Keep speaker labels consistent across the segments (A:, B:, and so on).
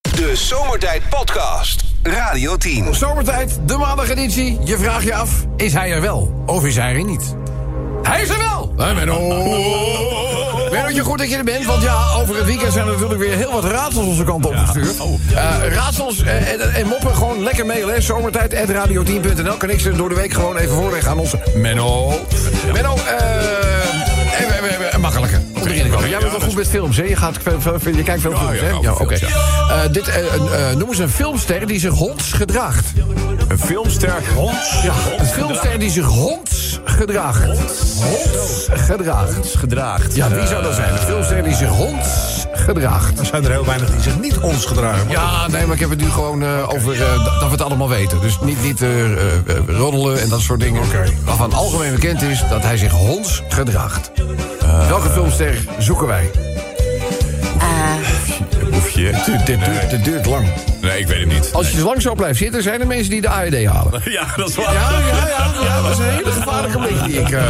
A: De Zomertijd Podcast. Radio 10.
B: Zomertijd, de maandageditie. Je vraagt je af, is hij er wel of is hij er niet? Hij is er wel! Hè, Menno? Mennootje, goed dat je er bent. Want ja, over het weekend zijn er natuurlijk weer heel wat raadsels onze kant opgestuurd. Eh, raadsels eh, en, en moppen gewoon lekker mailen. hè. Zomertijd.radio10.nl kan ik ze door de week gewoon even voorleggen aan onze Menno. Menno, eh, en we hebben- we hebben een makkelijke. Om erin te komen. Jij bent wel goed met films, hè? Je, gaat, veel- veel- je kijkt veel films,
C: ja,
B: hè?
C: ik hou
B: Ja,
C: van
B: oké.
C: films,
B: Eh, dit, eh, een, eh, noem eens een filmster die zich honds gedraagt.
C: Een filmster hond.
B: Ja, een filmster die zich honds gedraagt. Honds gedraagt.
C: gedraagt.
B: Ja, wie zou dat zijn? Een filmster die zich honds gedraagt.
D: Er zijn er heel weinig die zich niet ons gedragen.
B: Ja, nee, maar ik heb het nu gewoon eh, over eh, dat dat we het allemaal weten. Dus niet, niet eh, eh, eh, roddelen en dat soort dingen. Waarvan algemeen bekend is dat hij zich honds gedraagt. Welke filmster zoeken wij?
C: Hoef je.
B: Dit duurt, dit duurt lang.
C: Nee, ik weet het niet.
B: Als je lang zo blijft zitten, zijn er mensen die de AED halen.
C: Ja, dat is waar.
B: ja, ja, ja, dat is een hele gevaarlijke blik die ik eh,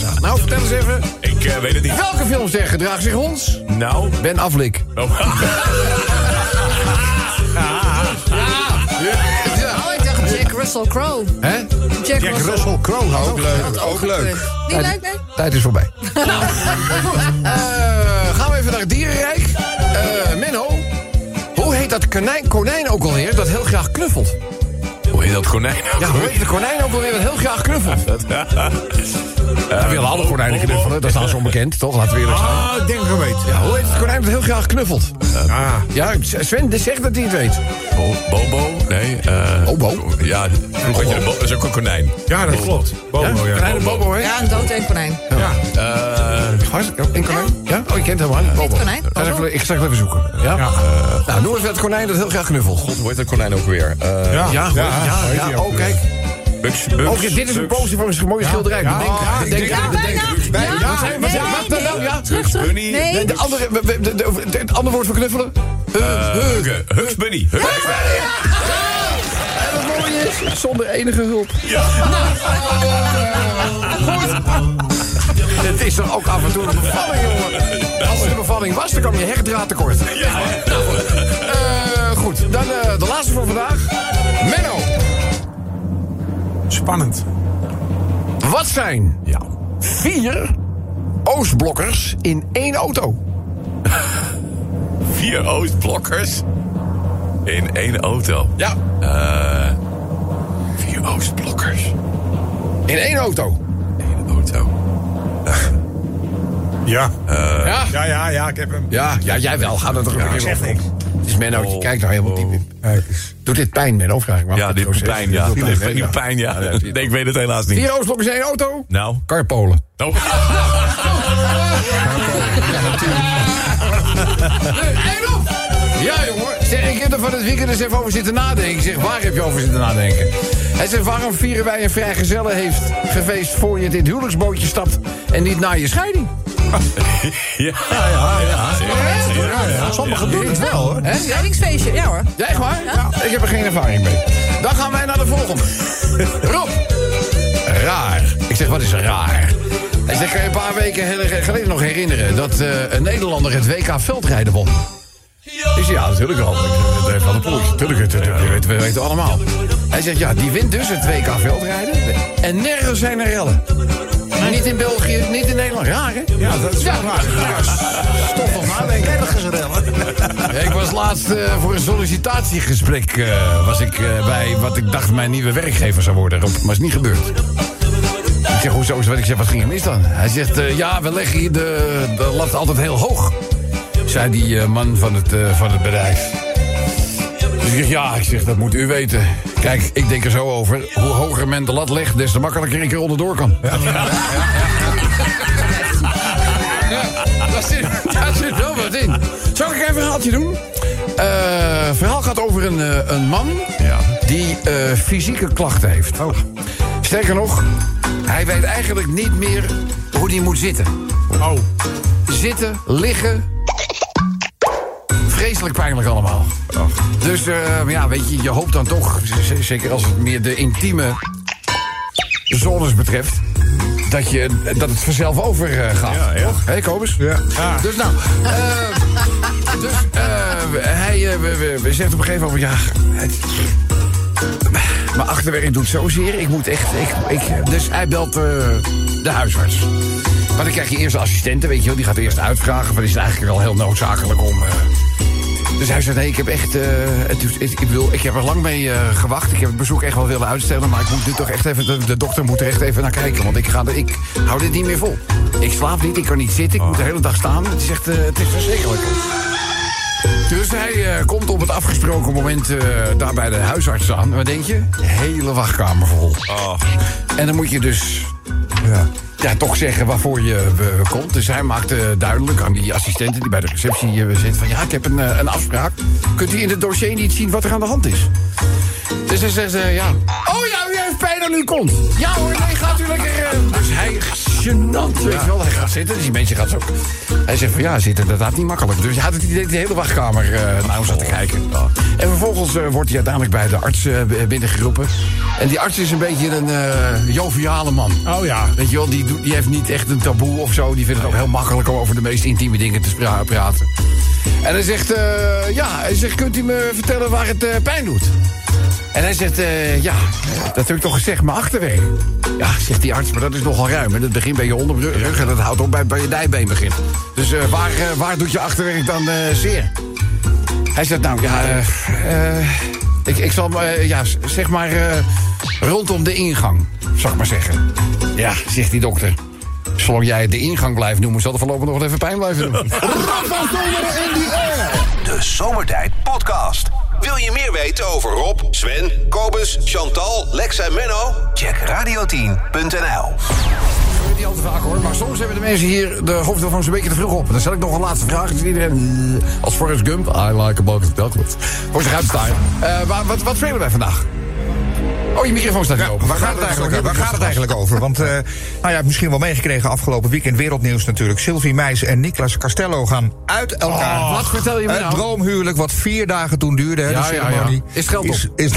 B: zag. Nou, vertel eens even.
C: Ik eh, weet het niet.
B: Welke filmster gedraagt zich honds?
C: Nou.
B: Ben Affleck.
C: Oh.
B: Ja.
E: Oh, ik dacht Jack Russell Crowe.
B: Hè?
E: Jack,
D: Jack Russell Crowe, ook leuk. Ook leuk.
E: Niet leuk, nee?
B: Tijd is voorbij. Nou. Eh, gaan we even naar het dierenrijk. Eh, Menno, hoe heet dat konijn, konijn ook alweer dat heel graag knuffelt?
C: Hoe heet dat konijn?
B: Ja, hoe heet de konijn ook alweer dat heel graag knuffelt? Dat willen alle konijnen knuffelen, dat is nou zo onbekend, toch? Laten we eerlijk zijn.
D: Ah, ik denk dat ik het weet.
B: Hoe heet het konijn dat heel graag knuffelt?
D: Ah,
B: Ja, Sven dit zegt dat hij het weet.
C: Bo- Oh, Bobo? Nee. eh
B: Bobo?
C: Ja, vroeger had je de Bo- dat is ook een konijn.
D: ja, dat klopt. Bobo, Oh. ja.
B: Konijn en Bobo, hè?
E: Ja, een dood en konijn.
C: Eh,
B: Hartstikke. Een konijn? Ja? Oh, je kent hem aan. Bobo.
E: konijn,
B: Ga eens
E: Bobo.
B: even- Ik ga even zoeken. Ja? Eh, nou, noem eens het konijn dat heel graag knuffelt.
C: hoe heet dat konijn ook weer? Eh
D: Ja,
B: Ja, ja, ja,
D: weet je ook.
B: oh kijk.
C: Bugs, Bugs,
B: Oké, dit is een
C: Bugs,
B: positie van een mooie schilderij.
D: ja,
B: Bedenk-
D: ja,
B: bedenk-
D: ik
E: Ja,
B: bedenk-
E: bijna.
D: Bijna.
E: Ja,
D: Wat zijn-
E: nee,
D: wat zijn-
B: wat dan
E: nee.
B: nou? Ja,
E: Terug, terug.
C: Bunny.
E: Nee.
B: De andere, we- we- de- de- de- het andere woord voor knuffelen? Eh, Huh, huh.
C: Hugs, Hugs Bunny. Hugs.
B: En het mooie is, zonder enige hulp. Het is toch ook af en toe een bevalling, jongen. Als het een bevalling was, dan kwam je hechtdraad tekort. Nou, goed. Eh, goed, dan eh, de laatste voor vandaag. Menno,
D: Spannend.
B: wat zijn vier Oostblokkers in één auto?
C: Vier Oostblokkers in één auto.
B: Ja,
C: Eh, vier Oostblokkers
B: in één auto.
C: in één auto.
D: Ja.
B: Ja.
D: Ja, ja, ja, ik heb hem.
B: Ja, ja, jij wel. Ga dat toch
D: Ik zeg niks.
B: Het is Menno, die
C: Oh.
B: kijkt nou helemaal diep in. Doet dit pijn, Menno? Vraag ik me af.
C: Ja, dit
B: Doet
C: doet
B: het
C: pijn, ja.
B: doet
C: Dit doet nu
B: ja.
C: pijn, ja. Nee, ik weet het helaas niet.
B: Vier Oostblokkers in één auto?
C: Nou.
B: Karpolen.
C: Oh.
B: En op! Ja, jongen. Zeg, ik heb er van het weekend eens even over zitten nadenken. Ik zeg, waar heb je over zitten nadenken? Hij zegt, waarom vieren wij een vrijgezellen heeft gefeest... voor je in dit huwelijksbootje stapt en niet na je scheiding?
C: Ja, ja, ja. ja, ja.
D: Sommigen doen het wel, hoor.
B: Hè? Ja?
E: Scheidingsfeestje, ja hoor.
B: Ja, echt waar? Nou, ik heb er geen ervaring mee. Dan gaan wij naar de volgende. Rob. Raar. Ik zeg, wat is raar? Hij zegt, kan je een paar weken hel- geleden nog herinneren... dat eh, een Nederlander het WK veldrijden won? Ik eh, zeg, ja, natuurlijk wel. Dat heeft wel een poeltje. Tuurlijk, het- het- we weten, we weten allemaal. Hij zegt, ja, die wint dus het WK veldrijden. En nergens zijn er rellen. Niet in België, niet in Nederland. Raar, hè?
D: Ja, dat is wel raar.
B: Ja, stof van nadenken.
D: Ergens rellen.
B: Ja, Ik was laatst eh, voor een sollicitatiegesprek eh, was ik, eh, bij wat ik dacht mijn nieuwe werkgever zou worden. Rob. Maar is niet gebeurd. Ik zeg, hoezo? is- Wat? Ik zeg, wat ging er mis dan? Hij zegt, eh, ja, we leggen hier de, de lat altijd heel hoog. Zei die eh, man van het, eh, van het bedrijf. Dus ik zeg, ja, ik zeg, dat moet u weten. Kijk, ik denk er zo over. Hoe hoger men de lat legt, des te makkelijker ik er onderdoor kan. Ja, daar, zit, daar zit wel wat in. Zal ik even een verhaaltje doen? Eh, het verhaal gaat over een, eh, een man die eh, fysieke klachten heeft. Sterker nog, hij weet eigenlijk niet meer hoe hij moet zitten.
D: Oh.
B: Zitten, liggen. Vreselijk pijnlijk allemaal. Dus eh, maar ja, weet je, je hoopt dan toch, z- z- zeker als het meer de intieme zones betreft, dat, je, eh, dat het vanzelf overgaat.
C: Ja, ja.
B: Ah. Hé, Kobus?
D: Ja.
B: Dus nou, eh, Dus eh, hij eh, we- we- we zegt op een gegeven moment... Ja, het- mijn achterwerk doet zozeer. Ik moet echt... Ik, ik, dus hij belt eh, de huisarts. Maar dan krijg je eerst de assistenten, weet je wel. Die gaat eerst uitvragen. Van is het eigenlijk wel heel noodzakelijk om... eh, dus hij zei, nee, ik heb echt... eh, het, doet- het- ik, wil, ik heb er lang mee eh, gewacht. Ik heb het bezoek echt wel willen uitstellen. Maar ik moet dit toch echt even... De, de dokter moet er echt even naar kijken. Want ik, ga, er- ik hou dit niet meer vol. Ik slaap niet, ik kan niet zitten. Ik moet de hele dag staan. Het is echt eh, het is verschrikkelijk. Dus hij eh, komt op het afgesproken moment eh, daar bij de huisarts aan. Wat denk je? Hele wachtkamer vol. En dan moet je dus ja, ja, toch zeggen waarvoor je eh, komt. Dus hij maakte duidelijk aan die assistenten die bij de receptie eh, zit... van ja, ik heb een, eh, een afspraak. Kunt u in het dossier niet zien wat er aan de hand is? Dus hij zegt, eh, ja... Oh ja, u heeft pijn aan uw kont. Ja hoor, nee, gaat u lekker... eh." Dus hij, gênant, weet je wel. Hij gaat zitten, dus die mensen gaat zo... Hij zegt van ja, zit inderdaad niet makkelijk. Dus hij had het idee de hele wachtkamer eh naar hem zat te kijken. En vervolgens eh, wordt hij uiteindelijk bij de arts eh, b- binnengeroepen. En die arts is een beetje een eh, joviale man.
D: Oh ja.
B: Weet je wel, die, doet- die heeft niet echt een taboe of zo. Die vindt het ook heel makkelijk om over de meest intieme dingen te spra- praten. En hij zegt, eh, ja, hij zegt, kunt u me vertellen waar het eh, pijn doet? En hij zegt, eh, ja, dat heb ik toch gezegd, mijn achterwerk. Ja, zegt die arts, maar dat is nogal ruim. En dat begint bij je onderrug en dat houdt op bij, bij je dijbeen begint. Dus eh, waar, eh, waar doet je achterwerk dan eh, zeer? Hij zegt, nou, ja, eh, eh, ik, ik zal, maar, eh, ja, z- zeg maar, eh, rondom de ingang, zal ik maar zeggen. Ja, zegt die dokter. Zolang jij de ingang blijft noemen, zal er voorlopig nog wel even pijn blijven doen.
A: De Zomertijd Podcast. Wil je meer weten over Rob, Sven, Kobus, Chantal, Lex en Menno? Check radio10.nl.
B: Ik weet niet al te vaak hoor, maar soms hebben de mensen hier de hoofdtelefoons een beetje te vroeg op. Dan stel ik nog een laatste vraag. Dus iedereen eh, als Forrest Gump, I like a bucket of chocolate. Voor zich uitstaan. Eh, maar wat, wat spelen wij vandaag? Oh, je microfoon staat niet open.
D: Waar gaat het eigenlijk, waar gaat het eigenlijk over? Want eh, nou ja, je hebt misschien wel meegekregen afgelopen weekend wereldnieuws natuurlijk. Sylvie Meijs en Niklas Castello gaan uit elkaar.
B: Oh, wat vertel je me
D: Het
B: nou?
D: droomhuwelijk wat vier dagen toen duurde, hè,
B: Ja,
D: de
B: ja, ja.
D: ceremonie.
B: Is het geld op?
D: Is, is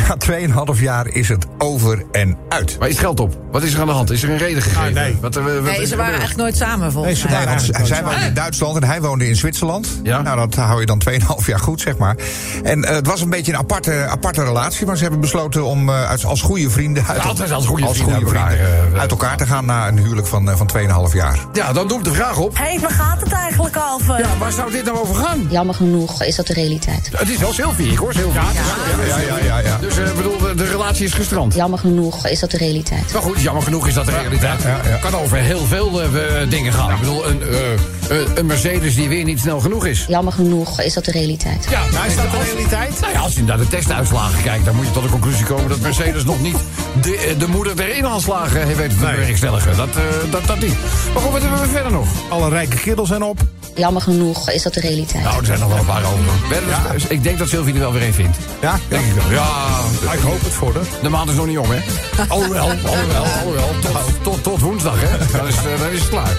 D: na 2,5 jaar is het over en uit.
B: Maar is het geld op? Wat is er aan de hand? Is er een reden gegeven?
F: Ah, nee.
B: Wat, er- wat
E: Nee,
B: is
E: ze
B: er
E: waren
B: gebeurd?
E: eigenlijk nooit samen volgens
F: ze
E: mij.
F: waren-
D: Ja, want
F: eigenlijk
D: zij woonde in Duitsland en hij woonde in Zwitserland.
B: Ja.
D: Nou, dat hou je dan 2,5 jaar goed, zeg maar. En eh, het was een beetje een aparte, aparte relatie, maar ze hebben besloten om eh, als, als goede vrienden uit,
B: Altijd als goede vrienden uit elkaar,
D: vrienden
B: eh,
D: uit elkaar te gaan na een huwelijk van, eh, van 2,5 jaar.
B: Ja, dan doe ik de vraag op.
G: Hé, hey, waar gaat het eigenlijk over?
B: Ja, waar zou dit nou over gaan?
H: Jammer genoeg is dat de realiteit.
B: Het is wel Sylvie, ik hoor Sylvie.
D: Ja, ja, ja, ja.
B: Dus eh, bedoel, de, de relatie is gestrand.
H: Jammer genoeg is dat de realiteit.
B: Maar goed, jammer genoeg is dat de realiteit.
D: Ja, ja, ja.
B: Kan over heel veel eh, eh, dingen gaan. Ik bedoel, een, eh, eh, een Mercedes die weer niet snel genoeg is.
H: Jammer genoeg is dat de realiteit.
B: Ja, maar
F: is dat de realiteit?
B: Nou ja, als je naar de testuitslagen kijkt, dan moet je tot de conclusie komen dat Mercedes nog niet de, eh, de moeder der inhaalslagen heeft weten te bewerkstelligen. Dat, eh, dat, dat niet. Maar goed, wat hebben we verder nog?
F: Alle rijke kerels zijn op.
H: Jammer genoeg is dat de realiteit.
B: Nou, er zijn nog wel een paar over. Werden we- Ik denk dat Sylvie er wel weer een vindt.
F: Ja?
B: Denk ik wel. Ja,
F: Ik hoop het voor haar.
B: de maand is nog niet om, hè? Alhoewel, alhoewel, alhoewel. Tot, tot, tot woensdag, hè? Dan is, eh, dan is het klaar.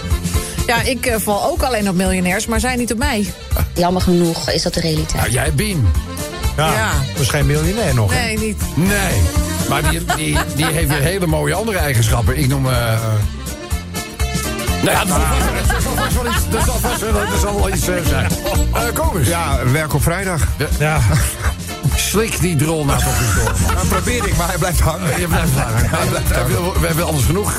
E: Ja, ik eh, val ook alleen op miljonairs, maar zij niet op mij.
H: Jammer genoeg is dat de realiteit.
B: Nou, jij, Bien.
F: Ja.
E: Ja.
F: Dat is geen miljonair nog. hè?
E: Nee, niet.
B: Nee, maar die, die, die heeft weer hele mooie andere eigenschappen. Ik noem... eh nou ja, dat zal vast wel iets- dat zal vast wel- dat zal wel iets eh, zijn. Eh Kobus,
D: Ja, werk op vrijdag.
F: Ja.
B: slik die drol nou toch eens door.
D: Dat probeer ik, maar hij blijft hangen.
B: Je blijft daar. We hebben anders genoeg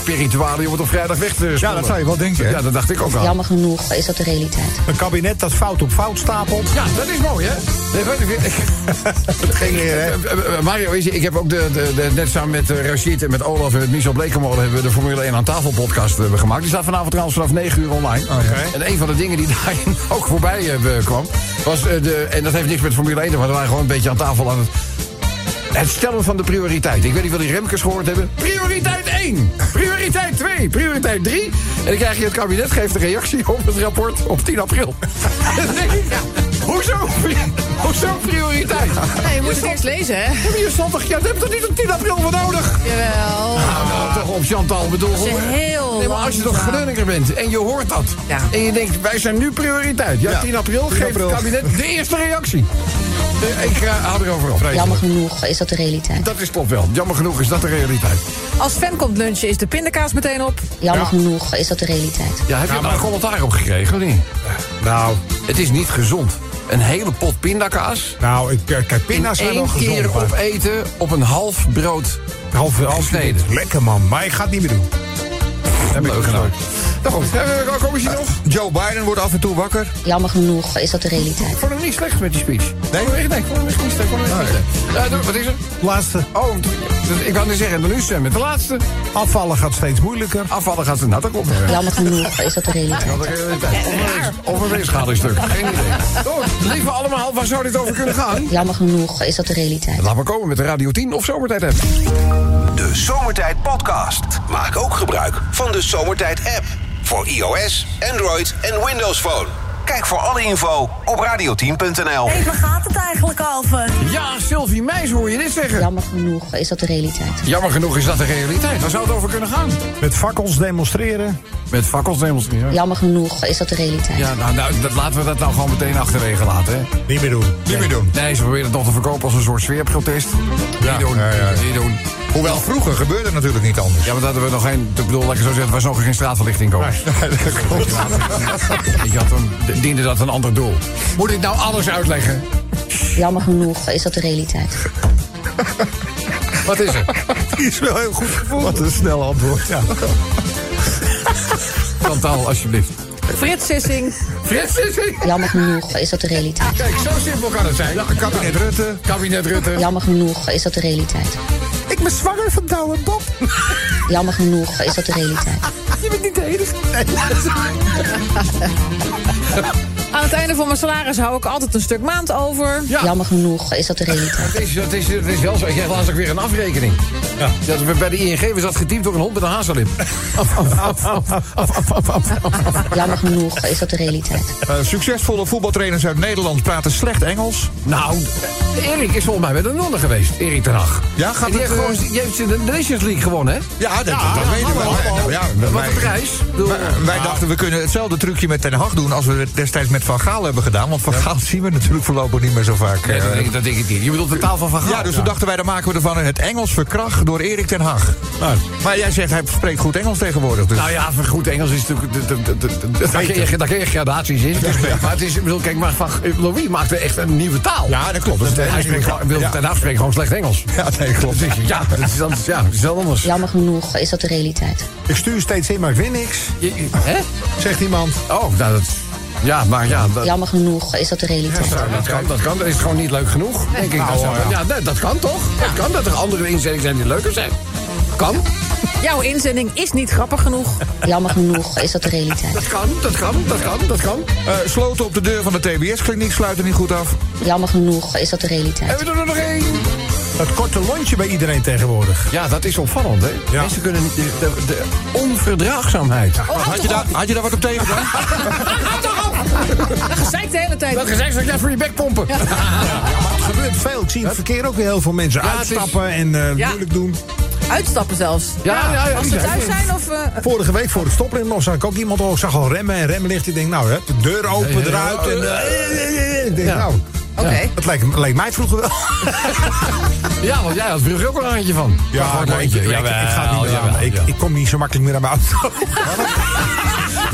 B: spiritualie om het op vrijdag weg te
F: Ja, dat zou je wel denken. hè?
B: Ja, dat dacht ik ook al.
H: Jammer genoeg is dat de realiteit.
F: Een kabinet dat fout op fout stapelt.
B: Ja, dat is mooi, hè? Nee, weet ik- ik- Het ging hier, hè? Eh, eh, Mario, is- ik heb ook de, de, de- net samen met eh, Rashid en met Olaf en met Michel Blekemolen... hebben we de Formule 1 aan tafel podcast eh, gemaakt. Die staat vanavond trouwens vanaf 9 uur online.
F: ja.
B: En een van de dingen die daarin ook voorbij eh, kwam... was, eh, de, en dat heeft niks met Formule 1 te maken... we waren gewoon een beetje aan tafel aan het... Het stellen van de prioriteit. Ik weet niet wat die Remkes gehoord hebben. Prioriteit 1, prioriteit 2, prioriteit 3. En dan krijg je het kabinet, geeft een reactie op het rapport op 10 april. Dan denk ik, ja, hoezo? Hoezo prioriteit?
E: Nee, je moet het eerst lezen, hè?
B: Heb je stond toch, ja, dat heb je toch niet op 10 april voor nodig?
E: Jawel.
B: Nou, nou, toch op Chantal, bedoel
E: is
B: hoor.
E: heel
B: Nee, maar als je
E: lang
B: toch
E: verhaal.
B: Groninger bent en je hoort dat.
E: Ja.
B: En je denkt, wij zijn nu prioriteit. Ja,
D: Ja,
B: 10 april
D: 10
B: geeft het
D: april.
B: kabinet de eerste reactie. Eh, ik eh, hou erover op.
H: Jammer genoeg is dat de realiteit.
B: Dat is klopt wel. Jammer genoeg is dat de realiteit.
E: Als Sven komt lunchen, is de pindakaas meteen op.
H: Jammer genoeg is dat de realiteit.
B: Ja, heb je daar een commentaar op gekregen of niet?
F: Nou,
B: Het is niet gezond. Een hele pot pindakaas.
F: nou ik, eh, kijk,
B: In
F: pinda's zijn wel
B: één
F: gezond.
B: keer
F: maar-
B: opeten op een half brood.
F: half, half
B: gesneden.
F: Lekker man, maar ik ga het niet meer doen.
B: Heb ik gedaan.
F: Nou goed, eh, kom eens hier nog.
D: Joe Biden wordt af en toe wakker.
H: Jammer genoeg is dat de realiteit.
B: Ik vond hem niet slecht met die speech.
F: Nee?
B: Vond hem echt- Nee, ik vond hem echt niet slecht. ik vond hem echt niet slecht. Eh, doe- Wat is er?
F: Laatste.
B: Oh, dus ik kan niet zeggen, dan nu zijn we met de laatste.
F: Afvallen gaat steeds moeilijker.
B: Afvallen gaat ze nou, dat komt. Ja.
H: Jammer genoeg is dat de realiteit.
B: Of een weegschaderstuk. Geen idee. Goed, lieve allemaal, waar zou dit over kunnen gaan?
H: Jammer genoeg is dat de realiteit.
B: Laat maar komen met de Radio 10 of Zomertijd app.
A: De Zomertijd Podcast. Maak ook gebruik van de Zomertijd app. Voor iOS, Android en Windows Phone. Kijk voor alle info op radio10.nl.
G: Hé, waar gaat het eigenlijk over?
B: Ja, Sylvie Meijs hoor je dit zeggen.
H: Jammer genoeg is dat de realiteit.
B: Jammer genoeg is dat de realiteit. Waar zou het over kunnen gaan?
F: Met fakkels demonstreren.
B: Met fakkeldemonstratie.
H: Jammer genoeg is dat de realiteit.
B: Ja, nou, nou, dat, laten we dat nou gewoon meteen achterwege laten. Hè?
F: Niet meer doen.
D: Niet meer doen.
B: Nee, ze proberen het nog te verkopen als een soort sfeerprotest.
D: Ja,
B: niet doen,
D: ja, ja.
B: niet doen.
D: Hoewel vroeger gebeurde het natuurlijk niet anders.
B: Ja, maar dat hadden we nog geen... Ik bedoel, laat ik het zo zeggen, er was nog geen straatverlichting komen. Je had een, diende dat een ander doel. Moet ik nou alles uitleggen?
H: Jammer genoeg is dat de realiteit.
B: Wat is er?
F: Die is wel heel goed gevoeld. Wat een snel antwoord. Ja.
B: Chantal, alsjeblieft.
E: Frits Sissing.
B: Frits Sissing!
H: Jammer genoeg is dat de realiteit.
B: Kijk, zo simpel kan het zijn.
D: Kabinet Rutte.
B: Kabinet Rutte.
H: Jammer genoeg is dat de realiteit.
F: Ik ben zwanger van Douwe Bob.
H: Jammer genoeg is dat de realiteit.
E: Aan het einde van mijn salaris hou ik altijd een stuk maand over.
B: Ja.
H: Jammer genoeg is dat de realiteit.
B: Dat is, dat, is, dat is wel zo. Ik kreeg laatst ook weer een afrekening. Dat we bij de ING was dat getypt door een hond met een hazellip. Af, af, af, af, af, af, af, af, af.
H: Jammer genoeg is dat de realiteit.
D: Eh, succesvolle voetbaltrainers uit Nederland praten slecht Engels.
B: Nou, Erik is volgens mij met een nonne geweest. Erik ten Hag.
D: Ja, gaat
B: En die
D: het,
B: heeft
D: eh,
B: gewoon, die heeft in de Nations League gewonnen, hè?
D: Ja, dat, dat weten we. Wij- nou ja,
B: Wat
D: wij- eh,
B: een prijs. Ik bedoel, ah,
D: wij- Wij dachten, we kunnen hetzelfde trucje met Ten Hag doen... als we het destijds met Van Gaal hebben gedaan. Want Van Gaal zien we natuurlijk voorlopig niet meer zo vaak.
B: Nee, dat
D: eh.
B: denk, ik- dat denk ik niet. Je bedoelt de taal van Van Gaal.
D: Ja, dus toen dachten wij, dan maken we ervan het Engels verkracht door Erik ten Hag.
F: Nou.
D: Maar jij zegt, hij spreekt goed Engels tegenwoordig. Dus.
B: Nou ja, voor goed Engels is natuurlijk... de- de- de- de- de- Daar kun je- daar kun je gradaties in. Maar het is, ik bedoel, kijk, maar van, Louis maakte echt een nieuwe taal. Dus
D: ja, dat klopt. Dat is het
B: Hij
D: enige
B: spreekt,
D: wat-
B: gewoon- ik bedoel,
D: ja.
B: Ten Hag spreekt gewoon slecht Engels.
D: Ja, nee, klopt.
B: Dus ik- Ja, dat is dan, ja, dat is wel anders.
H: Jammer genoeg is dat de realiteit.
F: Ik stuur steeds in, maar ik win niks.
B: Je- je- hè?
F: Zegt iemand.
B: Oh, nou, dat... Ja, maar ja, dat,
H: Jammer genoeg is dat de realiteit.
B: Nou, dat kan, dat kan. Dat is gewoon niet leuk genoeg, denk ik.
D: Nou,
B: dat zou- ja, nee, dat kan toch? Dat kan dat er andere inzendingen zijn die leuker zijn. Kan,
E: Jouw inzending is niet grappig genoeg.
H: Jammer genoeg is dat de realiteit.
B: dat kan, dat kan, dat kan, dat kan.
D: Eh, sloten op de deur van de TBS-kliniek sluiten niet goed af.
H: Jammer genoeg is dat de realiteit.
B: En we doen er nog één.
F: Dat korte lontje bij iedereen tegenwoordig.
B: Ja, dat is opvallend, hè?
F: Ja.
B: Mensen kunnen niet... De, de- de onverdraagzaamheid.
D: Had je, daar, had je daar wat op tegen dan?
E: Gezeik de hele tijd.
B: Dat gezegd zou ik jou voor je bek pompen.
F: Het gebeurt veel. Ik zie in het verkeer ook weer heel veel mensen
B: Ja, het is-
F: uitstappen en eh,
E: Ja.
F: moeilijk doen.
E: Uitstappen zelfs.
B: Ja, ja, ja,
E: Als
B: die
E: ze
B: zijn-
E: thuis zijn of... eh,
F: Vorige week voor de stoplicht nog zag ik ook iemand oh, ik zag al remmen en remlicht. Ik denk, nou, hè, de deur open,
B: Ja, ja, ja.
F: eruit. En, eh, ik denk,
B: Ja.
F: nou,
E: Oké.
F: dat leek, leek mij vroeger wel.
B: Ja, want jij had vroeger ook een handje van. Maar gewoon
F: maar ik,
B: een handje.
F: ik, ik ga het niet meer aan.
B: jawel,
F: Ik,
B: ja.
F: ik kom niet zo makkelijk meer aan mijn auto.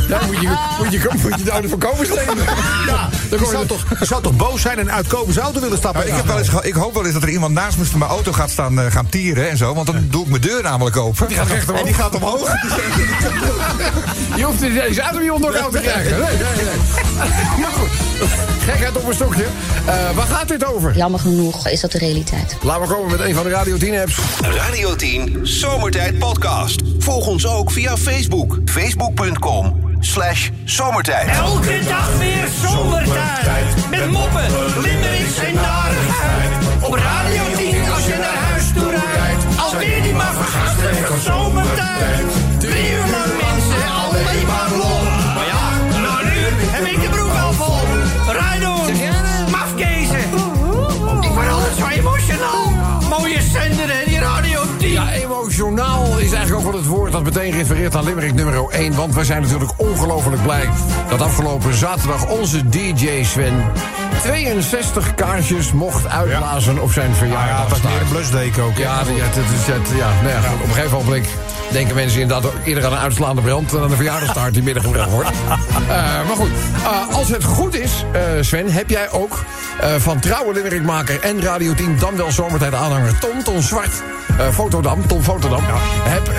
B: Daar moet je, moet je, moet je de oude voorkomers nemen. Ja, dan
F: Je
B: kom je
F: zou,
B: toch...
F: toch, je zou toch boos zijn en uit Kobus auto willen stappen?
D: Maar ik, heb wel eens, geho- ik hoop wel eens dat er iemand naast me van mijn auto gaat staan eh, gaan tieren en zo. Want dan doe ik mijn deur namelijk open.
B: Die gaat recht omhoog.
D: En die gaat omhoog.
B: Je hoeft niet eens uit om je onderhoud te krijgen. Nee, nee, nee. Maar goed, gekheid op een stokje. Eh, waar gaat dit over?
H: Jammer genoeg is dat de realiteit.
B: Laten we komen met een van de Radio 10 apps.
A: Radio 10 Zomertijd Podcast. Volg ons ook via Facebook. Facebook.com slash zomertijd.
I: Elke dag weer zomertijd. Met moppen, limmerings en narigheid. Op Radio 10 als je naar huis toe rijdt. Alweer die maar vergasten zomertijd. Drie uur lang mensen, alleen maar lol. Maar ja, na een uur heb ik de broek al vol. Rijdon, mafkezen. Ik word altijd zo emotional. Mooie zender hè, die Radio 10.
B: Ja, emotionaal is eigenlijk ook wel het woord dat meteen refereert aan Limerick nummer 1. Want wij zijn natuurlijk ongelooflijk blij dat afgelopen zaterdag onze DJ Sven 62 kaarsjes mocht uitblazen op zijn
F: ja, dat was
B: verjaardagstaart.
F: meer een blusdeken ook.
B: Ja, ja, het, het, is- het- ja, nou ja, goed, op een gegeven moment denken mensen inderdaad ook eerder aan een uitslaande brand... dan aan een verjaardagstaart die middengebracht wordt. Eh, maar goed, eh, als het goed is, eh, Sven, heb jij ook eh, van trouwe limmerikmaker en Radio 10... dan wel zomertijd aanhanger Tom, Tom Zwart, eh, Fotodam, Tom Fotodam... Heb, eh,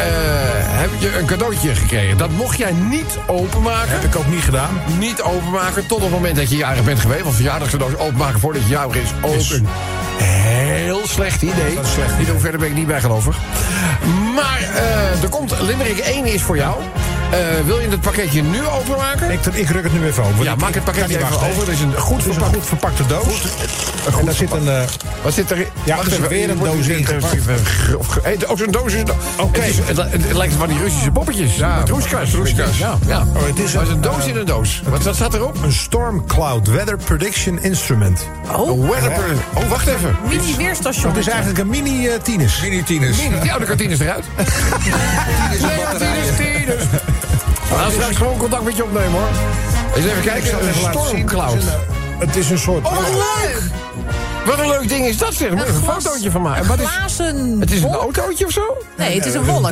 B: heb je een cadeautje gekregen. Dat mocht jij niet openmaken
F: Heb ik ook niet gedaan.
B: niet openmaken tot op het moment dat je jarig bent geweest. Want verjaardagscadeaus openmaken voordat je jarig is ook
F: Is-
B: een heel slecht idee.
F: Dat is slecht idee.
B: Niet hoe verder ben ik niet bijgelovig. Maar eh, er komt Limerick 1 is voor jou. Eh, wil je het pakketje nu openmaken?
F: Ik, ik ruk het nu even over.
B: ja, maak het pakketje even over. Er is een goed
F: Het is een
B: verpakt.
F: goed verpakte doos. en daar zit een... eh,
B: Wat zit er?
F: Ja,
B: Wacht
F: er zit
B: even,
F: weer een
B: wordt
F: doos
B: hier
F: in
B: een-
F: gepakt.
B: een gr- of gr- hey, Ook zo'n doos is... Oké. Het, is- het li- het lijkt van die Russische poppetjes. Ja, Roeskas. Ja, ja.
F: Oh, het is
B: Maar
F: een,
B: een doos in een doos. Wat, wat staat erop?
F: een storm cloud weather prediction instrument.
B: Oh, weather. Oh, wacht even.
E: Mini-weerstation.
F: Dat is eigenlijk een mini eh tinus.
D: Mini-tieners.
B: Ja, de kantine is eruit.
F: dus.
B: Leontines, Laat straks gewoon contact met je opnemen, hoor. Eens even kijken. Een stormcloud.
F: Het is een soort...
B: Oh, wat leuk! Wat een leuk ding is dat, zeg. Moet ik Een
E: glas-
B: fotootje van maken. Wat is,
E: Glazen.
B: het is een
E: wolk.
B: autootje of zo?
E: Nee, het is een
B: Oh,
E: wolk.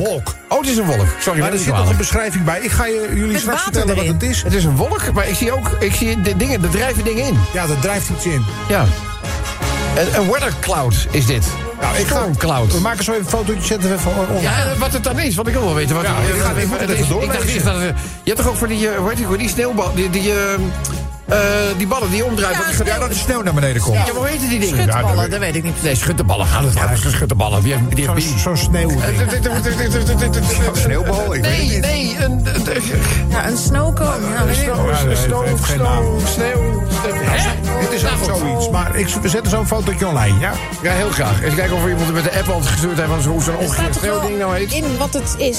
B: het is een wolk. Sorry,
F: Maar
B: dat
F: er
B: is
F: zit nog een beschrijving bij. Ik ga je, jullie
E: Met
F: straks
E: water
F: vertellen wat
E: erin.
F: het is.
B: Het is een wolk, maar ik zie ook ik zie de dingen, er drijven dingen in.
F: Ja, dat drijft iets in.
B: Ja. Een, een weather cloud is dit.
F: Nou, ik ga,
B: Stormcloud.
F: We maken zo even een fotootje, zetten we van onder.
B: Ja, en wat het dan is, want ik wil wel weten wat
F: Ja,
B: het-
F: ik ga- ik moet het even
B: Ik dacht
F: doorlezen.
B: eerst dat het- Je hebt toch ook voor die, eh, hoe heet die, voor die sneeuwbal, die, die, eh, eh, die ballen die omdraaien.
E: Ja,
B: Wat is dat?
E: sneeuw.
B: Ja,
D: Ja, dat de sneeuw naar beneden komt.
B: maar hoe heet die dingen?
E: Schutballen, dat weet ik niet.
B: Nee, schutterballen gaat het. Ja, dat is schutterballen. Die heeft, die
F: Zo'n
B: heeft
F: zo'n sneeuwding.
D: Sneeuwbal, ik weet het
B: Nee,
D: niet.
B: nee, een... een- een-
E: Ja, een snowcone. Ja, weet ik.
B: Snow, snow,
F: heeft
B: snow,
F: geen
B: snow,
F: naam.
B: sneeuw. Hè?
F: Het is
B: Nou,
F: ook
B: goed.
F: zoiets. Maar ik, we zetten zo'n fotootje online, ja?
B: Ja, heel graag. Eens kijken of er iemand met de app al gestuurd heeft... van hoe zo'n
E: Het staat
B: ongeveer
E: toch wel
B: sneeuwding nou heet.
E: in wat het is.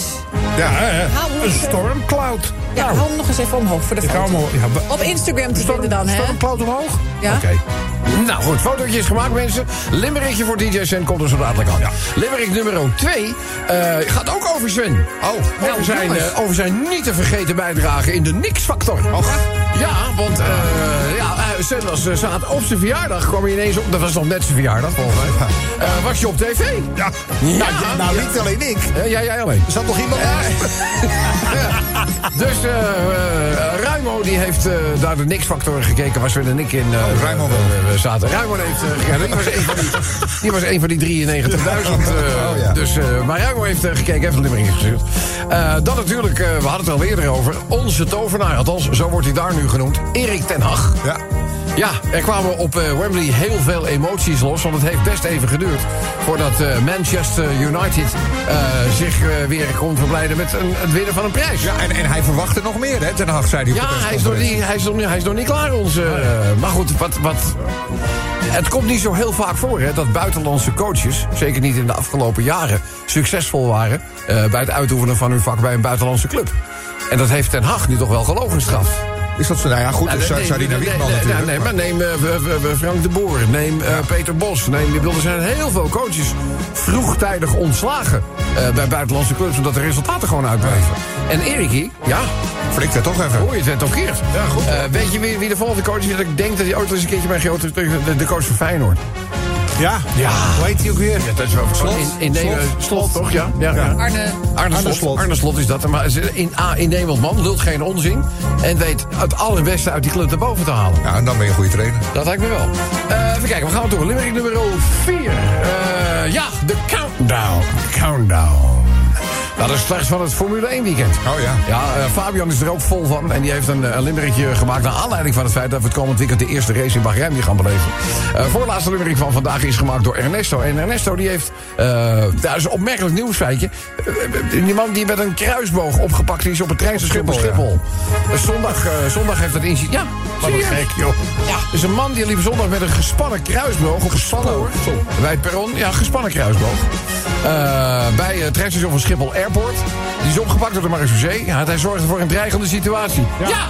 F: Ja,
E: Hou hem
F: hè? Een
E: even.
F: stormcloud.
E: Ja, hou hem nog eens even omhoog voor de
F: Ik hou
E: foto.
F: hem al- ja, wa-
E: Op Instagram te vinden dan, hè?
F: Stormcloud omhoog?
E: Ja.
F: Oké.
B: Nou goed, fotootje is gemaakt, mensen. Limerickje voor DJ Sven komt er zo dadelijk aan. Limerick nummer 2 gaat ook over Sven. Oh, over, zijn, eh, over zijn niet te vergeten bijdrage in de Nix-factor. Ja, want eh ja, eh, Sven was eh, zaad op zijn verjaardag. kwam hij ineens op. Dat was nog net zijn verjaardag, volgens mij. Eh, was je op tv?
F: Ja.
B: Ja,
F: Nou, niet alleen ik. Er
B: Eh, jij, jij alleen.
F: zat nog iemand bij.
B: Dus eh eh, Ruimo die heeft eh, naar de Nix-factor gekeken waar Sven en ik in eh,
D: Oh, Ruimo wel.
B: eh, eh, zaten. Ruimo heeft... eh, ja, die, was een van die, die was een van die 93.000. eh,
D: Oh, ja.
B: dus, eh, maar Ruimo heeft eh, gekeken, heeft een limmering gestuurd. Eh, dan natuurlijk, eh, we hadden het er al eerder over... onze tovenaar, althans zo wordt hij daar nu genoemd, Erik ten Hag.
D: Ja.
B: Ja, er kwamen op eh, Wembley heel veel emoties los. Want het heeft best even geduurd voordat eh, Manchester United eh, zich eh, weer kon verblijden met een, het winnen van een prijs.
D: Ja, en, en hij verwachtte nog meer, hè? Ten Hag zei hij op de
B: Ja, hij is, nog
D: persconferentie.
B: niet, hij, is nog, niet- hij is nog niet klaar, onze. eh, maar goed, wat, wat. Het komt niet zo heel vaak voor hè, dat buitenlandse coaches, zeker niet in de afgelopen jaren, succesvol waren eh, bij het uitoefenen van hun vak bij een buitenlandse club. En dat heeft Ten Hag nu toch wel gelogenstraft.
D: Is dat zo? Nou ja, goed,
B: Nou,
D: dus zou
B: nee,
D: zou hij naar
B: nee,
D: Wiegman
B: nee,
D: natuurlijk.
B: Nee, maar neem eh, we- we- we Frank de Boer, neem eh, Peter Bos. Neem, ik bedoel, er zijn heel veel coaches vroegtijdig ontslagen eh, bij buitenlandse clubs... omdat de resultaten gewoon uitblijven. En Erikie, ja,
D: Flikt er toch even.
B: hoe je het werd toch keert. Ja, goed. weet je wie, wie de volgende coach is? Dat ik denk dat hij ooit wel eens een keertje bij GO terug- terug- de, de coach van Feyenoord.
F: Ja? Ja. Hoe heet hij ook weer?
B: dat is wel
F: Slot?
B: In, in Nederland.
F: Slot?
B: Slot, toch? Ja. ja, ja.
E: Arne,
B: Arne,
F: Arne
B: Slot.
F: Slot.
B: Arne Slot is dat. Maar ze- in, A, in Nederland man lult geen onzin. En weet het allerbeste uit die club naar boven te halen.
D: Ja, en dan ben je een goede trainer.
B: Dat lijkt me wel. Eh, even kijken, we gaan door. Limerick nummer 4. ja, de countdown. Countdown. Dat is straks van het Formule 1 weekend.
D: Oh ja.
B: Ja, eh, Fabian is er ook vol van. En die heeft een, een limerickje gemaakt. Naar aanleiding van het feit dat we het komend weekend de eerste race in Bahrein weer gaan beleven. Eh voorlaatste limerick van vandaag is gemaakt door Ernesto. En Ernesto die heeft. eh dat is een opmerkelijk nieuwsfeitje. Eh, die man die met een kruisboog opgepakt is op het treinstation van Schiphol. Eh, Zondag, eh, zondag heeft dat incident. Ja, serieus. Ja, dus een man die liep zondag met een gespannen kruisboog. Op gespannen hoor. Bij het perron, ja, gespannen kruisboog. Eh, bij het treinstation van Schiphol Airport. Die is opgepakt door de marechaussee. Ja, hij zorgde voor een dreigende situatie. Ja,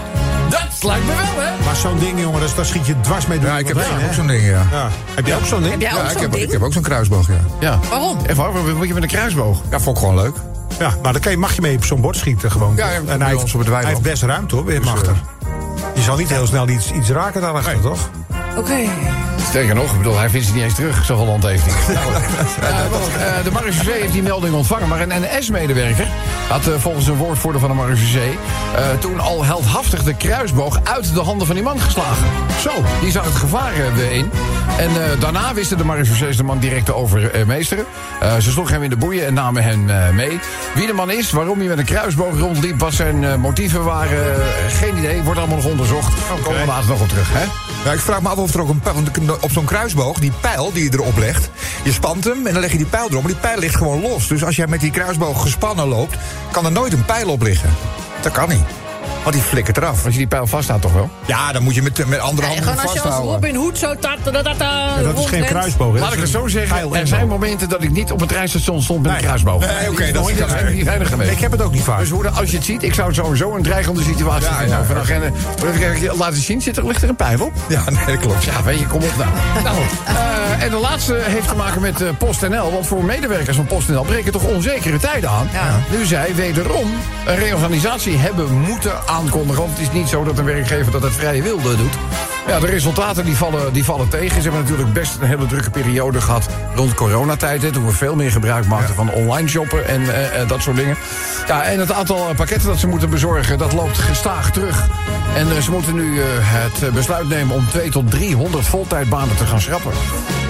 B: dat lijkt me wel, hè?
F: Maar zo'n ding, jongen, dat- daar schiet je dwars mee door.
D: Ja, ik heb
F: iemand heen,
D: ook
F: hè?
D: zo'n ding, ja.
F: Ja. Heb jij ook zo'n ding?
E: jij
D: Ja,
E: ook
D: ik,
E: zo'n
D: heb, ik
E: ding?
D: heb ook zo'n kruisboog, ja.
B: Ja.
E: Waarom?
B: En waarom Wat moet je met een kruisboog?
D: Ja, vond ik gewoon leuk.
F: Ja, maar dan kan je, mag je mee op zo'n bord schieten gewoon.
D: Ja, ja, bij
F: en hij
D: ons
F: heeft,
D: op het
F: hij
D: weiland.
F: heeft best ruimte hoor, weer
D: Dus,
F: achter. Je zal niet heel snel iets, iets raken daarachter, toch?
E: Oké.
B: Sterker nog, ik bedoel, hij vindt ze niet eens terug. Zoveel land heeft hij. Nou, eh, want, eh, de marechaussee heeft die melding ontvangen. Maar een NS-medewerker had eh, volgens een woordvoerder van de marechaussee... eh, toen al heldhaftig de kruisboog uit de handen van die man geslagen. Zo, die zag het gevaar eh, weer in. En eh, daarna wisten de marechaussees de man direct te overmeesteren. Eh, ze sloegen hem in de boeien en namen hem eh, mee. Wie de man is, waarom hij met een kruisboog rondliep... wat zijn eh, motieven waren, eh, geen idee. Wordt allemaal nog onderzocht. Komen we later nog op terug, hè?
D: Ja, ik vraag me af of er ook een pijl... want Op zo'n kruisboog, die pijl die je erop legt... je spant hem en dan leg je die pijl erop, maar die pijl ligt gewoon los. Dus als jij met die kruisboog gespannen loopt... kan er nooit een pijl op liggen. Dat kan niet. Want die flikkert eraf.
B: Als je die pijl vasthoudt, toch wel?
D: Ja, dan moet je met, met andere handen
E: gewoon als je als
D: vasthouden.
E: Robin Hood zo... Ta, ta, ta, ta, ta,
F: Dat is geen
E: eh, rondrent.
F: kruisboog. hè.
B: Laat ik het zo zeggen,
F: Geil
B: er zijn
F: inboog.
B: momenten dat ik niet op het treinstation stond met een kruisboog.
D: Nou Nee, oké, dat is
B: Nooit,
D: niet
B: zijn niet weinig geweest.
F: Ik heb het ook niet vaak.
B: Dus hoe dan- als je het ziet, ik zou het sowieso een dreigende situatie vinden. Van, nou, Genne, maar even kijken, Laat het zien, zit er, ligt er een pijl op?
D: Ja, nee, dat klopt.
B: Ja, weet je, kom op nou. nou eh, en de laatste heeft te maken met eh, PostNL. Want voor medewerkers van PostNL breken toch onzekere tijden aan. Nu zij wederom een reorganisatie hebben moeten aankondigen. Want het is niet zo dat een werkgever dat het vrije wilde doet. Ja, de resultaten die vallen, die vallen tegen. Ze hebben natuurlijk best een hele drukke periode gehad rond coronatijd. Hè, toen we veel meer gebruik maakten van online shoppen en eh, eh, dat soort dingen. Ja, en het aantal eh, pakketten dat ze moeten bezorgen, dat loopt gestaag terug. En eh, ze moeten nu eh, het eh, besluit nemen om 2 tot 300 voltijdbanen te gaan schrappen.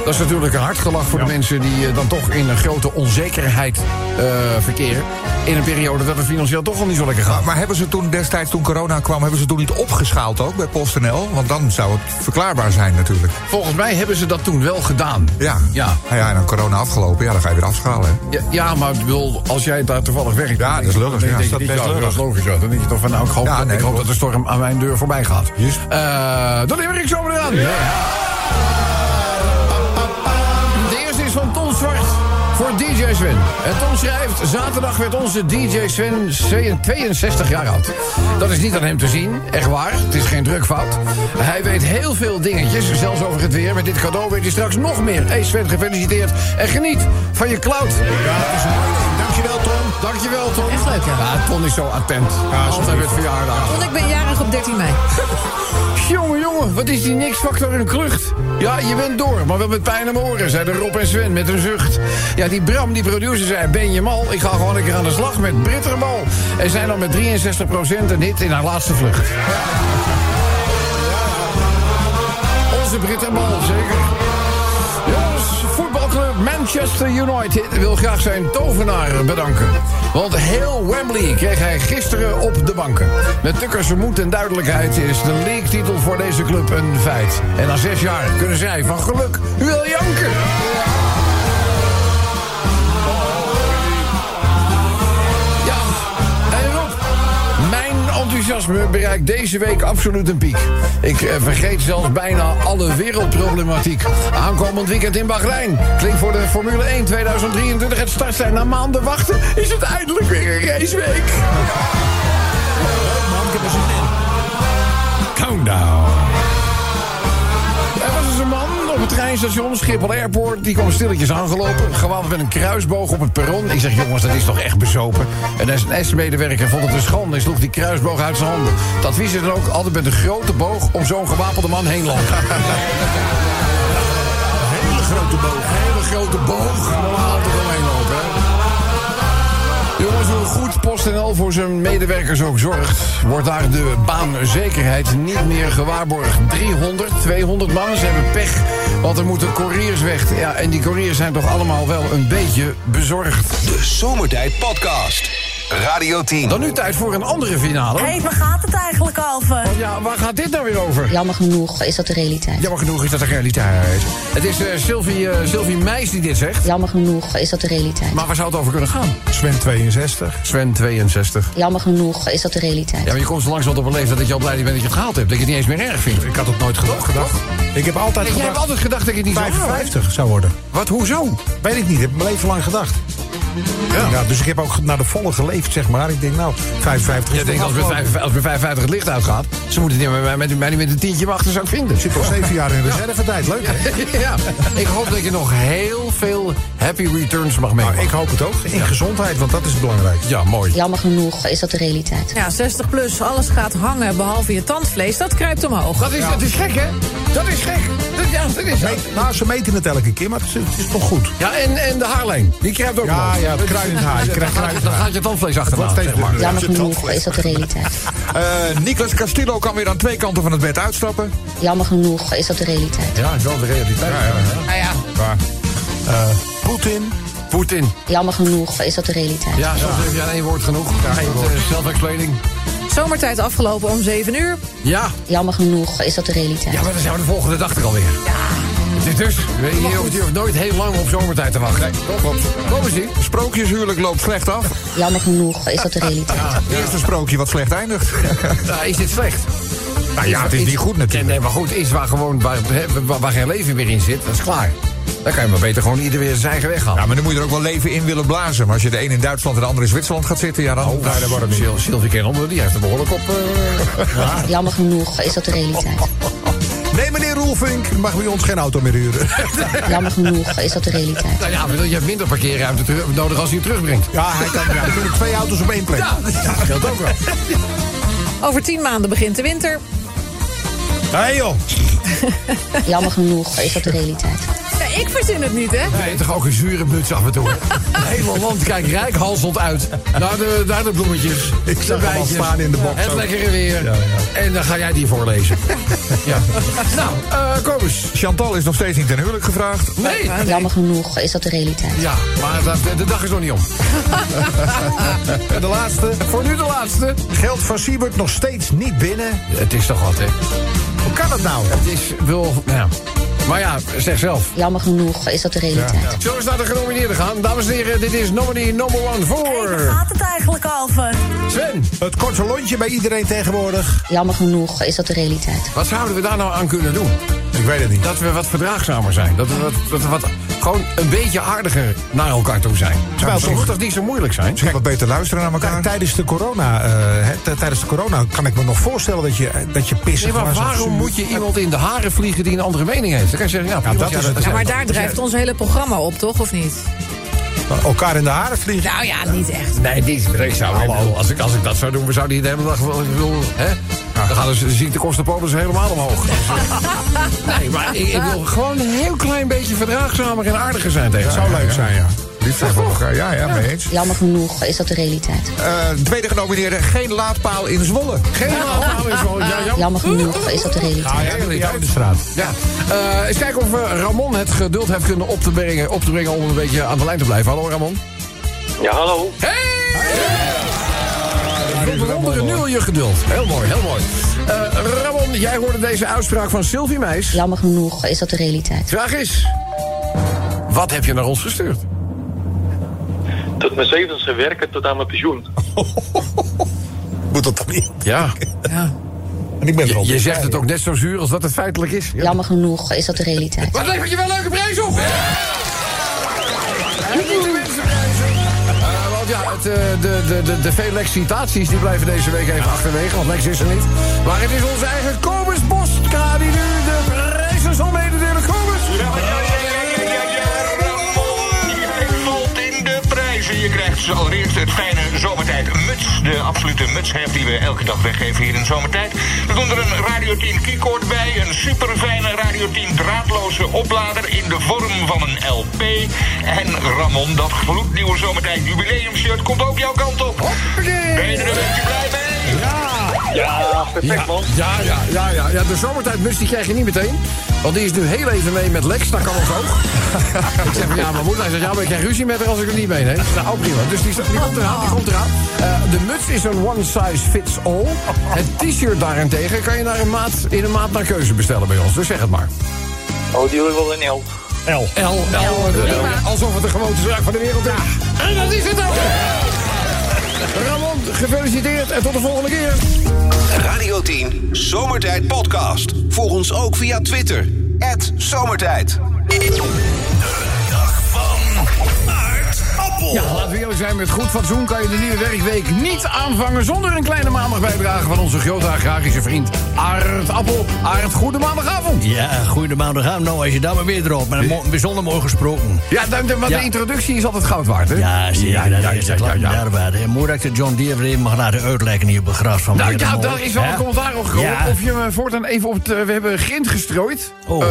B: Dat is natuurlijk een hard gelach voor de mensen die eh, dan toch in een grote onzekerheid eh, verkeren. In een periode dat het financieel toch al niet zo lekker gaat.
D: Maar hebben ze toen destijds, toen corona kwam... hebben ze toen niet opgeschaald ook bij PostNL? Want dan zou het verklaarbaar zijn natuurlijk.
B: Volgens mij hebben ze dat toen wel gedaan.
D: Ja.
B: Ja,
D: Nou ja, en dan corona afgelopen, ja, dan ga je weer afschalen. hè.
B: ja, ja, maar ik bedoel, als jij daar toevallig werkt... dan
D: Ja, dat is
B: denk-
D: lullig.
B: dan
D: Ja,
B: denk
D: is
B: je
D: dat
B: niet,
D: best
B: ja,
D: lullig.
B: is logisch. ja. Dan denk je toch van, nou, ik hoop,
D: Ja,
B: dat,
D: nee,
B: ik hoop dat de storm aan mijn deur voorbij gaat.
D: Juist.
B: Eh, dan heb ik zo maar aan. De eerste is van Ton Zwart voor DJ Sven. En Ton schrijft, zaterdag werd onze DJ Sven 62 jaar oud. Dat is niet aan hem te zien, echt waar. Het is geen drukfout. Hij weet heel veel dingetjes, zelfs over het weer. Met dit cadeau weet hij straks nog meer. Hey Sven, gefeliciteerd. En geniet van je cloud. Dankjewel, Ton. Dankjewel, Ton.
E: Echt leuk, hè?
B: Ja, Ton is zo attent. Altijd met verjaardag.
E: Want ik ben jarig op 13 mei.
B: Jongen, jongen, wat is die niksfactor een klucht? Ja, je bent door, maar wel met pijn aan mijn oren, zeiden Rob en Sven met een zucht. Ja, die Bram, die producer, zei: Ben je mal? Ik ga gewoon lekker aan de slag met Britterbal. En zijn dan met 63% een hit in haar laatste vlucht. Onze Britterbal, zeker. Jongens, voetbalclub Manchester United wil graag zijn tovenaar bedanken. Want heel Wembley kreeg hij gisteren op de banken. Met tukkerse moed en duidelijkheid is de league-titel voor deze club een feit. En na zes jaar kunnen zij van geluk wel janken. Ja, en Rob, mijn enthousiasme bereikt deze week absoluut een piek. Ik eh, vergeet zelfs bijna alle wereldproblematiek. Aankomend weekend in Bahrein klinkt voor de Formule 1 2023 het start zijn. Na maanden wachten is het eindelijk weer een raceweek.
C: Countdown.
B: Er was dus een man op het treinstation Schiphol Airport. Die kwam stilletjes aangelopen. Gewapend met een kruisboog op het perron. Ik zeg, jongens, dat is toch echt bezopen. Een SNS-medewerker vond het een schande en sloeg die kruisboog uit zijn handen. Het advies is dan ook altijd met een grote boog om zo'n gewapende man heen lopen. Hele grote boog. Hele grote boog. Normaal toch omheen lopen, hè? Jongens, hoe goed PostNL voor zijn medewerkers ook zorgt... wordt daar de baanzekerheid niet meer gewaarborgd. 300, 200 man, ze hebben pech, want er moeten couriers weg. Ja, en die couriers zijn toch allemaal wel een beetje bezorgd.
A: De Zomertijd Podcast. Radio 10.
B: Dan nu tijd voor een andere finale.
G: Hé, hey, waar gaat het eigenlijk eh? over?
B: Ja, waar gaat dit nou weer over?
H: Jammer genoeg is dat de realiteit.
B: Jammer genoeg is dat de realiteit. Het is eh, Sylvie, eh, Sylvie Meijs die dit zegt.
H: Jammer genoeg is dat de realiteit.
B: Maar waar zou het over kunnen gaan?
F: Sven 62.
B: Sven, 62.
H: Jammer genoeg is dat de
B: Ja,
H: realiteit.
B: maar je komt zo langs wat op een leeftijd dat je al blij bent dat je het gehaald hebt. Dat je het niet eens meer erg vindt.
F: Ik had het nooit gedacht. gedacht. Ik heb altijd
B: Jij hebt
F: gedacht
B: altijd gedacht dat je het niet zou halen, hè?
F: 55 zou worden.
B: Wat, hoezo?
F: Weet ik niet, heb mijn leven lang gedacht. Ja. dus ik heb ook naar de volle geleefd, zeg maar. Ik denk, nou, 55 is
B: Je denkt, als bij,
F: afgelopen.
B: 55 als bij 55 het licht uitgaat... ze moeten het niet met, met, met, met een tientje wachten, zou ik vinden.
F: Ik zit al 7 jaar in reservetijd, leuk hè?
B: ja, ik hoop dat je nog heel veel happy returns mag
F: Nou,
B: meemaken.
F: ik hoop het ook. In gezondheid, want dat is belangrijk.
B: Ja, mooi.
H: Jammer genoeg is dat de realiteit.
E: Ja, 60 plus, alles gaat hangen behalve je tandvlees. Dat kruipt omhoog.
B: Dat is, dat is gek, hè? Dat is gek. Dat, ja, dat is
F: Nee, nou, ze meten het elke keer, maar het is, het is toch goed.
B: Ja, en, en de haarlijn. Die krijgt ook
F: Ja,
B: last.
F: ja, het kruinend haar. Je krijgt
B: Dan gaat- Dan
F: kruinend haar.
B: gaat je tandvlees
F: Het
B: achterna.
F: wordt steeds dunner.
H: Jammer genoeg is dat de realiteit.
D: Eh, Nicolas Castillo kan weer aan twee kanten van het bed uitstappen.
H: Jammer genoeg is dat de realiteit.
F: Ja, is wel de realiteit.
E: Nou ja,
F: Poetin.
B: Poetin.
H: Jammer genoeg is dat de realiteit.
B: Ja, soms heb je aan één woord genoeg. eh, Ja, één woord. Self-explaining.
E: zomertijd afgelopen om 7 uur.
B: Ja.
H: Jammer genoeg is dat de
B: ja,
H: realiteit.
B: maar dan zijn we de volgende dag er alweer. Ja. Dus, weet je, je hoeft- je hoeft nooit heel lang op zomertijd te wachten. Kom eens hier.
D: Sprookjeshuwelijk loopt slecht af.
H: Jammer genoeg is dat de
F: Ah,
H: realiteit.
D: Eerste sprookje wat slecht eindigt.
B: Nou, is dit slecht?
D: nou ja, het is niet goed
B: Nee, nee,
D: natuurlijk.
B: maar goed, is waar gewoon waar, hè, waar, waar geen leven meer in zit, dat is klaar. Dan kan je maar beter gewoon ieder weer zijn eigen weg gaan.
D: Ja, maar dan moet je er ook wel leven in willen blazen. Maar als je de een in Duitsland en de ander in Zwitserland gaat zitten, ja,
F: Oh,
D: dan...
B: daar wordt het Sil Sylvie Kenonder, die heeft er behoorlijk op. eh,
H: Jammer genoeg is dat de realiteit.
F: Nee, meneer Roelvink, u mag bij ons geen auto meer huren.
H: Jammer genoeg is dat de realiteit.
B: nou ja, maar je hebt minder parkeerruimte terug- nodig als hij hem terugbrengt.
F: Ja, hij kan ja, er kunnen twee auto's op één plek.
B: Ja, dat geldt ook wel.
E: Over 10 maanden begint de winter.
F: Hé joh.
H: Jammer genoeg is dat de realiteit.
E: Ja, ik verzin het niet, hè?
B: Nee, toch ook een zure muts af en toe. Het hele land kijkt rijkhalsend uit naar de, naar de bloemetjes.
F: Ik zag hem al
B: bijtjes,
F: staan in de box
B: Het
F: ook.
B: lekkere weer.
F: Ja, ja.
B: En dan ga jij die voorlezen. ja. Nou, eh kom eens.
D: Chantal is nog steeds niet ten huwelijk gevraagd.
B: Nee.
H: Jammer genoeg is dat de realiteit.
B: Ja, maar dat, de dag is nog niet om.
F: En de laatste.
B: Voor nu de laatste.
F: Geld van Siebert nog steeds niet binnen.
B: Het is toch wat, hè?
F: Hoe kan dat nou?
B: Het is wel... Ja. Maar ja, zeg zelf.
H: Jammer genoeg is dat de realiteit.
B: Zullen we eens naar de genomineerden gaan? Dames en heren, dit is nominee number one
G: Waar
B: voor...
G: gaat het eigenlijk eh? over?
B: Sven.
F: Het korte lontje bij iedereen tegenwoordig.
H: Jammer genoeg is dat de realiteit.
B: Wat zouden we daar nou aan kunnen doen?
F: Ik weet het niet.
B: Dat we wat verdraagzamer zijn. Dat we wat, dat we wat, gewoon een beetje aardiger naar elkaar toe zijn. Terwijl ze
F: misschien-
B: moet toch niet zo moeilijk zijn?
D: Misschien wat beter luisteren naar
F: Tij-
D: elkaar.
F: Tijdens de, corona, eh, hè, t- tijdens de corona kan ik me nog voorstellen dat je, eh, dat je pissen
B: Nee, maar
F: was of
B: waarom
F: zuur.
B: moet je iemand in de haren vliegen die een andere mening heeft? Dan kan je zeggen, ja, prima,
F: dat is het.
E: Ja, maar
B: is-
E: daar drijft ons hele programma op, toch? Of niet?
F: Elkaar in de haren vliegen.
E: Nou ja, niet echt.
B: Nee, niet. Ik zou, ik bedoel, als, ik, als ik dat zou doen, we zouden hier de hele dag wel. ik bedoel, hè? Dan gaan dus de ziektekostenpolis helemaal omhoog. nee, maar ik, ik wil gewoon een heel klein beetje verdraagzamer en aardiger zijn tegen
F: Zou
B: elkaar.
F: leuk zijn, ja.
D: Liefst voor elkaar. Ja, ja, mee eens.
H: Jammer genoeg is dat de realiteit.
D: Eh, tweede genomineerde, geen laadpaal in Zwolle.
B: Geen normaal is wel. Ja, jammer.
H: Jammer genoeg is dat de realiteit.
B: Ja,
F: in
B: dat
F: de
B: is
F: oude straat.
B: Ja. Eh, eens kijken of eh, Ramon het geduld heeft kunnen op te brengen, op te brengen om een beetje aan de lijn te blijven. Hallo Ramon.
J: Ja, hallo.
B: We bewonderen nu al je geduld. Heel mooi, heel mooi. Eh, Ramon, jij hoorde deze uitspraak van Sylvie Meis.
H: Jammer genoeg is dat de realiteit.
B: Vraag is, wat heb je naar ons gestuurd?
J: Tot mijn zevende werken tot aan mijn pensioen.
F: Moet dat dan niet?
B: Ja,
F: En ik ben er
B: je,
F: al.
B: je zegt het ook net zo zuur als dat het feitelijk is.
H: Jammer genoeg is dat de realiteit.
B: Wat levert je wel leuke prijs op? En niet de mensenprijzen. Eh, want ja, het, eh, de, de, de, de vele excitaties die blijven deze week even achterwege, want Lex is er niet. Maar het is onze eigen Kobus Bostka die nu de prijzen zal mededelen. Kobus!
K: Je valt in de prijzen. Je krijgt dus allereerst het fijne zomertijd muts. De absolute mutsheft die we elke dag weggeven hier in zomertijd. Er komt er een Radio 10 keycord bij. Een super fijne Radio 10 draadloze oplader in de vorm van een LP. En Ramon, dat gloednieuwe zomertijd jubileumshirt komt ook jouw kant op. Ben je er een beetje blij mee?
J: Ja, perfect man.
B: Ja, ja, ja, ja, ja. De zomertijdmus die krijg je niet meteen. Want die is nu heel even mee met Lex, dat kan ons ook. ik zeg van ja, mijn moeder. Hij zegt ja, maar ik krijg ruzie met haar als ik er niet mee neem. Nou, prima. Dus die, die komt eraan, die komt eraan. Eh, de muts is een one size fits all. Het t-shirt daarentegen kan je naar een maat, in een maat naar keuze bestellen bij ons. Dus zeg het maar.
J: Oh, die wil ik wel in L.
B: L, L, eh, alsof het de gewoonte zaak van de wereld is. En dat is het ook. Ramon, gefeliciteerd en tot de volgende keer.
A: Radio 10 Zomertijd Podcast. Volg ons ook via Twitter. Zomertijd.
L: Oh.
B: Ja, laten we eerlijk zijn. zijn met goed fatsoen kan je de nieuwe werkweek niet aanvangen... zonder een kleine maandagbijdrage van onze grote agrarische vriend Arend Appel. Arend, goede maandagavond.
L: Ja, goede maandagavond. Nou, als je daar maar weer erop. Maar mo- bijzonder mooi gesproken.
B: Ja, dan, dan- want
L: Ja.
B: de introductie is altijd goud waard, hè?
L: Ja, zie je,
B: Ja,
L: dat
B: ja,
L: is
B: ja,
L: de klap
B: ja, ja.
L: daar eh, waarde. Hè. Moeilijk dat John Deere weer even mag laten uitlekken hier op het gras van
B: Nou
L: Weer
B: ja,
L: een
B: daar
L: mooi,
B: is wel
L: hè.
B: een commentaar op gekomen.
L: Ja. Oh.
B: Of je me voortaan even op het... eh, We hebben grind gestrooid. Eh,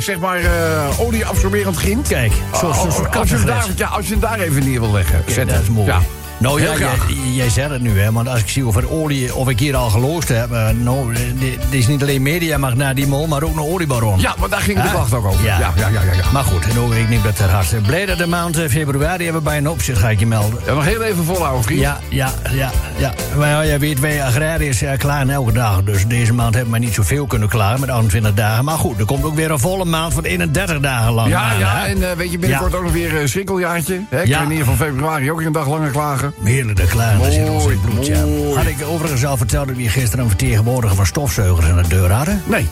B: zeg maar eh, olieabsorberend grind.
L: Kijk, zo'n
B: als,
L: soort
B: als, je hem daar,
L: kattengres.
B: ja, als je hem daar even neer wil leggen. zet
L: dat is
B: hem.
L: mooi.
B: Ja.
L: Nou
B: Heel
L: ja, jij,
B: graag.
L: jij zegt het nu, hè, want als ik zie hoeveel olie of ik hier al geloosd heb... eh, nou, eh, dit, dit is niet alleen mediamacht naar die mol, maar ook een oliebaron.
B: Ja, want daar ging de
L: Hè?
B: klacht ook over. Ja, ja, ja. ja, ja,
L: Maar goed, en ook ik neem dat ter harte. Blij dat de maand eh, februari hebben bij een opzet, ga ik je melden.
B: Ja, nog heel even volhouden, vriend.
L: Ja, ja, ja, ja. Maar ja, jij weet, wij agrariërs eh, klagen elke dag. Dus deze maand hebben we niet zoveel kunnen klagen met 28 dagen. Maar goed, er komt ook weer een volle maand van 31 dagen lang.
B: Ja,
L: aan,
B: ja,
L: Oh, hè?
B: en eh, weet je, binnenkort
L: Ja.
B: ook nog weer een schrikkeljaartje. Hè,
L: Ja.
B: Kun je in ieder van februari ook weer een dag langer klagen.
L: Heerlijk, de klaar. Dat zit ons in het
B: Mooi,
L: bloed, ja.
B: mooi.
L: Had ik overigens al verteld dat we hier gisteren een vertegenwoordiger van stofzuigers aan de deur hadden?
B: Nee.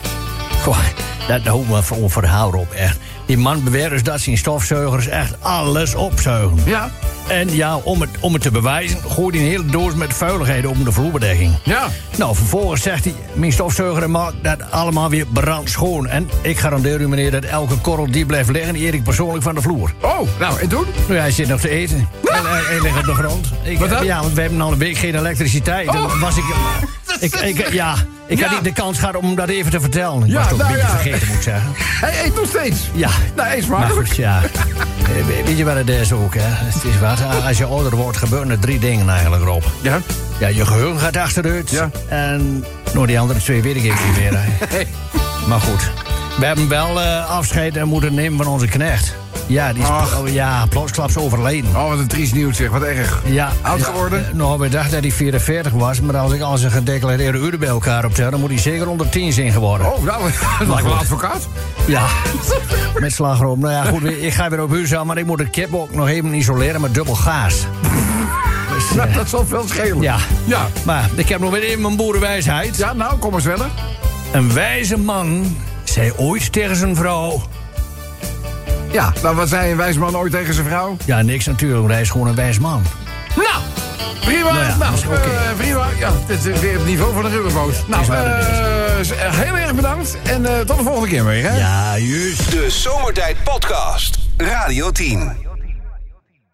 L: Goh, dat houdt me voor verhaal op, echt. Die man beweert dus dat zijn stofzuigers echt alles opzuigen.
B: Ja.
L: En ja, om het, om het te bewijzen, gooit hij een hele doos met vuiligheden om de vloerbedekking.
B: Ja.
L: Nou, vervolgens zegt hij, mijn stofzuiger maakt dat allemaal weer brandschoon. En ik garandeer u meneer dat elke korrel die blijft liggen, eer ik persoonlijk van de vloer.
B: Oh, nou, en toen?
L: Nou, hij zit nog te eten. En hij, hij ligt op de grond. Ik, eh,
B: Wat dan?
L: Ja, want we hebben al een week geen elektriciteit. Dan
B: Oh. dus-
L: was ik, eh, ik, ik- Ja, ik
B: Ja.
L: had niet de kans gehad om dat even te vertellen. Ik
B: Ja,
L: was toch
B: nou
L: een beetje
B: ja.
L: vergeten, moet ik zeggen.
B: Hij eet nog steeds.
L: Ja.
B: Nou, eet
L: Maar
B: smakelijk.
L: goed, ja. Eh, we- Weet je wat het is ook, hè? Het is wat. eh, Als je ouder wordt, gebeuren er drie dingen eigenlijk, Rob.
B: Ja.
L: Ja, je geheugen gaat achteruit.
B: Ja.
L: En nou, die andere twee weet ik even niet meer. hè.
B: Hey.
L: Maar goed, we hebben wel eh, afscheid en moeten nemen van onze knecht. Ja, die is
B: Ach.
L: oh, ja, plotsklaps overleden.
B: Oh, wat een triest nieuws zeg, wat erg.
L: Ja,
B: Oud
L: ja,
B: geworden?
L: eh, nou, we dachten dat hij 44 was, maar als ik al zijn gedeclareerde uren bij elkaar optel, dan moet hij zeker onder 10 zijn geworden.
B: Oh, nou, dat lijkt wel een advocaat.
L: Ja, met slagroom. Nou ja, goed, we- ik ga weer op huur maar ik moet de kip ook nog even isoleren met dubbel gaas. Dus, eh,
B: Nou, dat zal veel schelen.
L: ja.
B: Ja,
L: Maar ik heb nog weer in mijn boerenwijsheid.
B: ja nou, kom eens verder.
L: Een wijze man zei ooit tegen zijn vrouw...
B: Ja, nou, wat zei een wijsman ooit tegen zijn vrouw?
L: Ja, niks natuurlijk, want hij is gewoon een wijs man.
B: Nou, prima. Nou,
L: Nou ja, dat is oké.
B: eh, prima. Ja, dit is weer het niveau van de rubberboot. Nou,
L: Is waar, dat
B: eh, s- eh, heel erg bedankt. En eh, tot de volgende keer weer, hè?
L: Ja, juist.
A: De Zomertijd Podcast. Radio 10.